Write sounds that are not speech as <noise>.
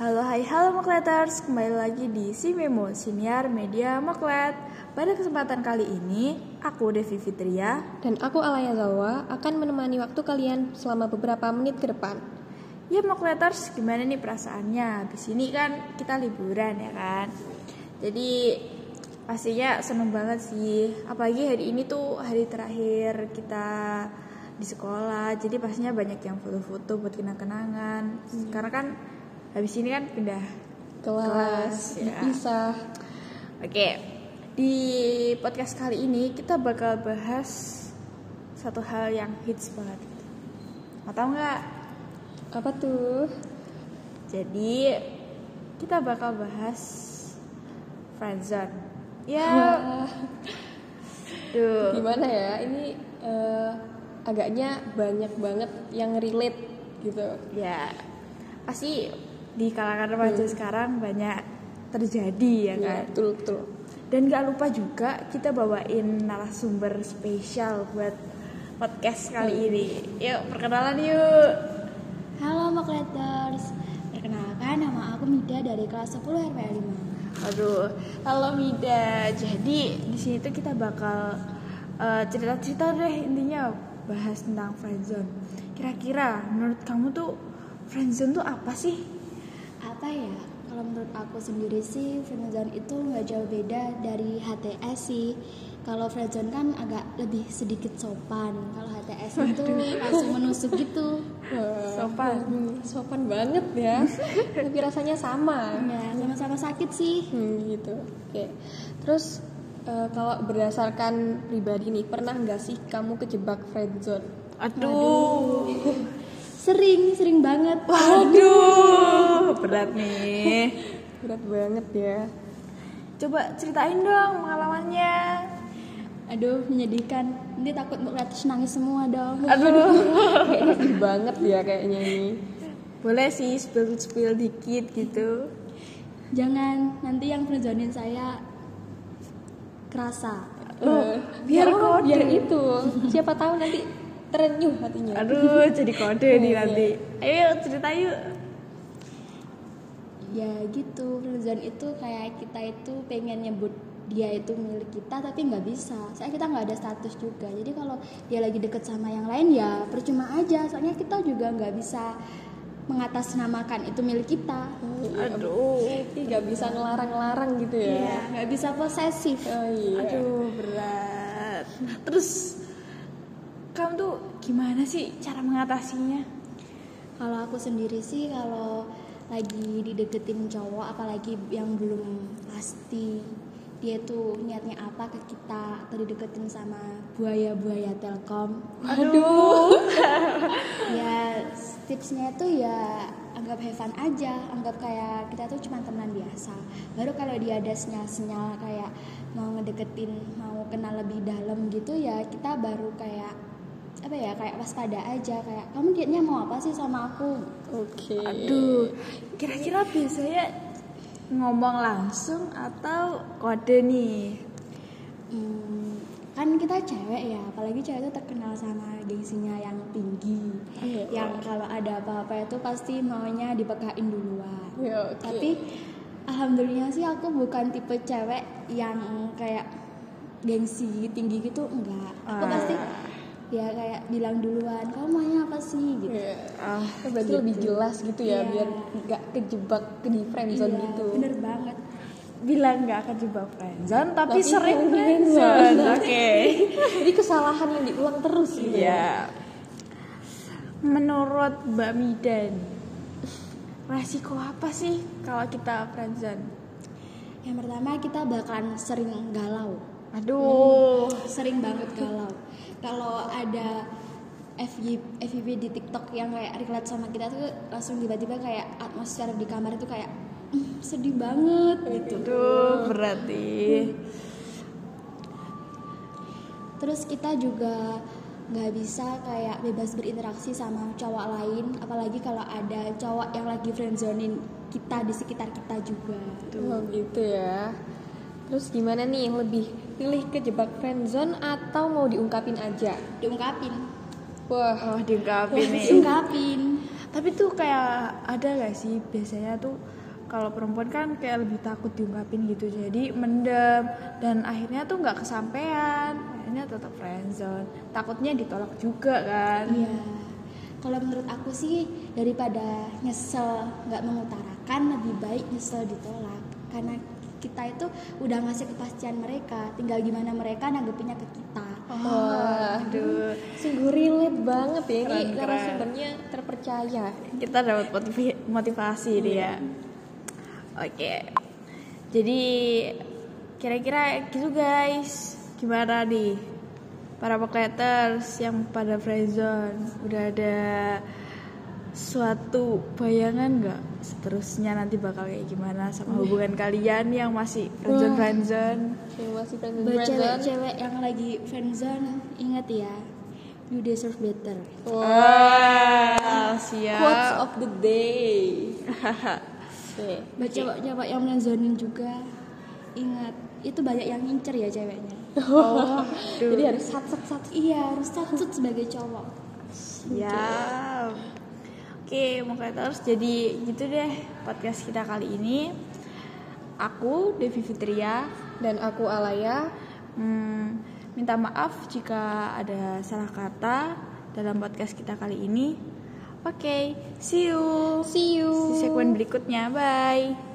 Halo hai halo Mokleters, kembali lagi di Simemo Siniar Media Moklet Pada kesempatan kali ini, aku Devi Fitria Dan aku Alaya Zawa akan menemani waktu kalian selama beberapa menit ke depan. Ya Mokleters, gimana nih perasaannya? Habis ini kan kita liburan ya kan Jadi pastinya seneng banget sih Apalagi hari ini tuh hari terakhir kita di sekolah Jadi pastinya banyak yang foto-foto buat kenang-kenangan Karena kan habis ini kan pindah Kelas, Kelas, ya. bisa. Oke, di podcast kali ini kita bakal bahas satu hal yang hits banget. Mau tahu nggak? Apa tuh? Jadi kita bakal bahas friendzone. Ya, Wah, duh. gimana ya? Ini eh, agaknya banyak banget yang relate gitu. Ya, pasti di kalangan remaja sekarang banyak terjadi ya Ya, kan. betul betul. Dan gak lupa juga kita bawain narasumber spesial buat podcast kali ini. Yuk perkenalan yuk. Halo Mokleters, perkenalkan nama aku Mida dari kelas 10 RPL 5 Aduh, halo Mida. Jadi di sini tuh kita bakal eh, cerita-cerita deh intinya bahas tentang friendzone. Kira-kira menurut kamu tuh friendzone tuh apa sih? Apa ya, kalau menurut aku sendiri sih friendzone itu nggak jauh beda dari HTS sih Kalau friendzone kan agak lebih sedikit sopan Kalau HTS itu langsung menusuk gitu Wah, Sopan. hmm, sopan banget ya. <laughs> Tapi rasanya sama. Ya sama-sama sakit sih Hmm, gitu. Oke. Terus eh, kalau berdasarkan pribadi nih, pernah nggak sih kamu kejebak friendzone? Aduh, Sering, sering banget aduh, berat nih. Berat banget ya. Coba ceritain dong pengalamannya. Aduh menyedihkan, nanti takut Mokleters nangis semua dong Aduh, Kayaknya sedih banget ya kayaknya ini. boleh sih spill-spill dikit gitu. Jangan, nanti yang friendzonein saya kerasa Loh, Oh, biar kode. Eh, biar itu. Siapa tahu nanti terenyuh hatinya. Aduh, jadi kode nih nanti. Iya. Ayo cerita yuk. ya gitu friendzone itu kayak kita itu pengen nyebut dia itu milik kita tapi nggak bisa soalnya kita nggak ada status juga jadi kalau dia lagi deket sama yang lain ya percuma aja soalnya kita juga nggak bisa mengatasnamakan itu milik kita Aduh, Iya. Ih, nggak bisa ngelarang-larang gitu ya. ya nggak bisa posesif Oh iya. Aduh berat. Terus kamu tuh gimana sih cara mengatasinya? kalau aku sendiri sih kalau lagi dideketin cowok apalagi yang belum pasti dia tuh niatnya apa ke kita atau dideketin sama buaya-buaya telkom Aduh. ya tipsnya itu ya anggap have fun aja anggap kayak kita tuh cuma teman biasa baru kalau dia ada sinyal-sinyal kayak mau ngedeketin mau kenal lebih dalam gitu ya kita baru kayak apa ya kayak waspada aja kayak kamu niatnya mau apa sih sama aku Oke. Iya. Aduh. Kira-kira biasanya ngomong langsung atau kode nih? Hmm, kan kita cewek ya apalagi cewek itu terkenal sama gengsinya yang tinggi Iya. yang kalau ada apa-apa itu pasti maunya dipegain duluan Ya, oke. tapi alhamdulillah sih aku bukan tipe cewek yang kayak gengsi tinggi gitu enggak aku Ah. pasti ya kayak bilang duluan kamu maunya apa sih gitu Iya. Ah, berarti lebih jelas gitu ya, Iya. biar nggak kejebak ke di friendzone Iya, gitu. bener banget bilang nggak akan jebak friendzone tapi, Tapi sering sering friendzone. friendzone. <laughs> Oke. <laughs> Jadi kesalahan yang diulang terus gitu ya. Iya. Menurut Mbak Midan, resiko apa sih kalau kita friendzone? yang pertama kita bakalan sering galau Aduh. Oh, sering banget galau kalau ada FYP, FYP di TikTok yang kayak relate sama kita tuh langsung tiba-tiba kayak atmosfer di kamar itu kayak "Mm, sedih banget gitu Aduh, berarti. terus kita juga nggak bisa kayak bebas berinteraksi sama cowok lain apalagi kalau ada cowok yang lagi friendzonein kita di sekitar kita juga Oh, gitu ya. Terus gimana nih, lebih pilih kejebak friendzone atau mau diungkapin aja? diungkapin Wah, Oh, diungkapin nih. diungkapin tapi tuh kayak ada gak sih biasanya tuh kalau perempuan kan kayak lebih takut diungkapin gitu jadi mendem dan akhirnya tuh nggak kesampaian akhirnya tetap friendzone takutnya ditolak juga kan Iya. Kalau menurut aku sih daripada nyesel nggak mengutarakan lebih baik nyesel ditolak karena kita itu udah ngasih kepastian mereka, tinggal gimana mereka nanggepinnya ke kita. Oh, Oh, Waduh, Sungguh relate banget ya ini Keren, keren. narasumbernya terpercaya. kita dapat motiv- motivasi dia. Oke, jadi kira-kira gitu guys, gimana nih para pokleters yang pada friendzone udah ada suatu bayangan nggak seterusnya nanti bakal kayak gimana sama hubungan kalian yang masih friendzone friendzone Yang masih friendzone Buat friendzone. cewek-cewek yang lagi friendzone, ingat ya, you deserve better. Wow. Wah, siap Quotes of the <laughs> day. Oke. Buat cewek-cewek yang friendzone juga, ingat itu banyak yang ngincer ya ceweknya. Oh, Jadi harus sat sat sat. Iya, harus takut sebagai cowok. Siap. Ya. Oke, terus jadi gitu deh podcast kita kali ini. Aku Devi Fitria Dan aku Alaya. Hmm, minta maaf jika ada salah kata dalam podcast kita kali ini. Oke, see you See you. di segmen berikutnya. Bye.